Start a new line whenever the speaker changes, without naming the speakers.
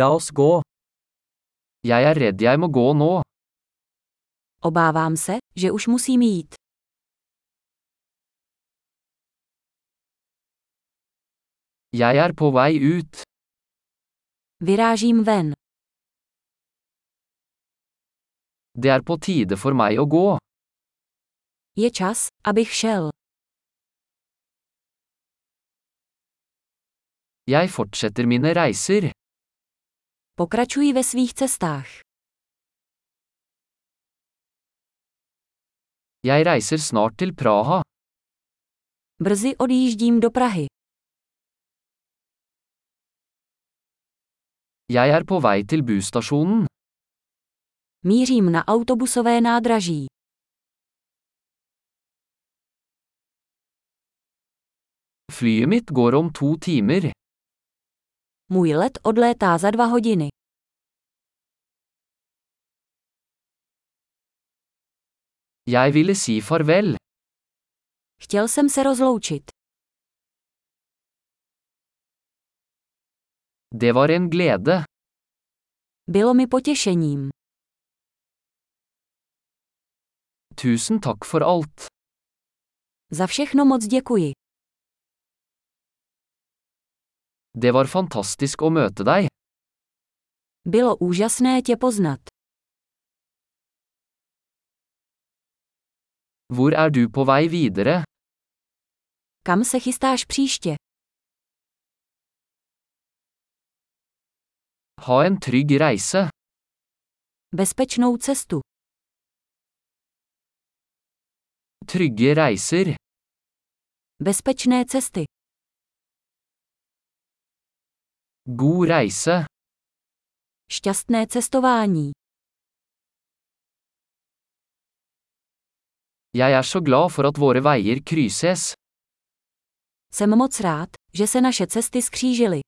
La oss gå. Jeg er redd jeg må gå nå.
Obávám se, že už musím jít.
Jeg er på vei ut.
Vyrážím ven.
Det er på tide for meg å gå.
Je čas, abych šel.
Jeg fortsetter mine reiser.
Pokračuji ve svých cestách.
Jeg reiser snart til Praha.
Brzy odjíždím do Prahy.
Jeg er på vei til busstasjonen.
Mířím na autobusové nádraží.
Flyet mitt går om to timer.
Můj let odlétá za dva hodiny.
Jeg ville si farvel.
Chtěl jsem se rozloučit.
Det var en glede.
Bylo mi potěšením.
Tusen takk for alt.
Za všechno moc děkuji.
Det var fantastisk å møte deg.
Bylo úžasné tě poznat.
Hvor er du på vei videre?
Kam se chystáš příště?
Ha en trygg reise.
Bezpečnou cestu.
Trygge reiser.
Bezpečné cesty.
God reise.
Šťastné cestování.
Jeg er så glad for at våre veier krysses.
Jsem moc rád, že se naše cesty skřížily.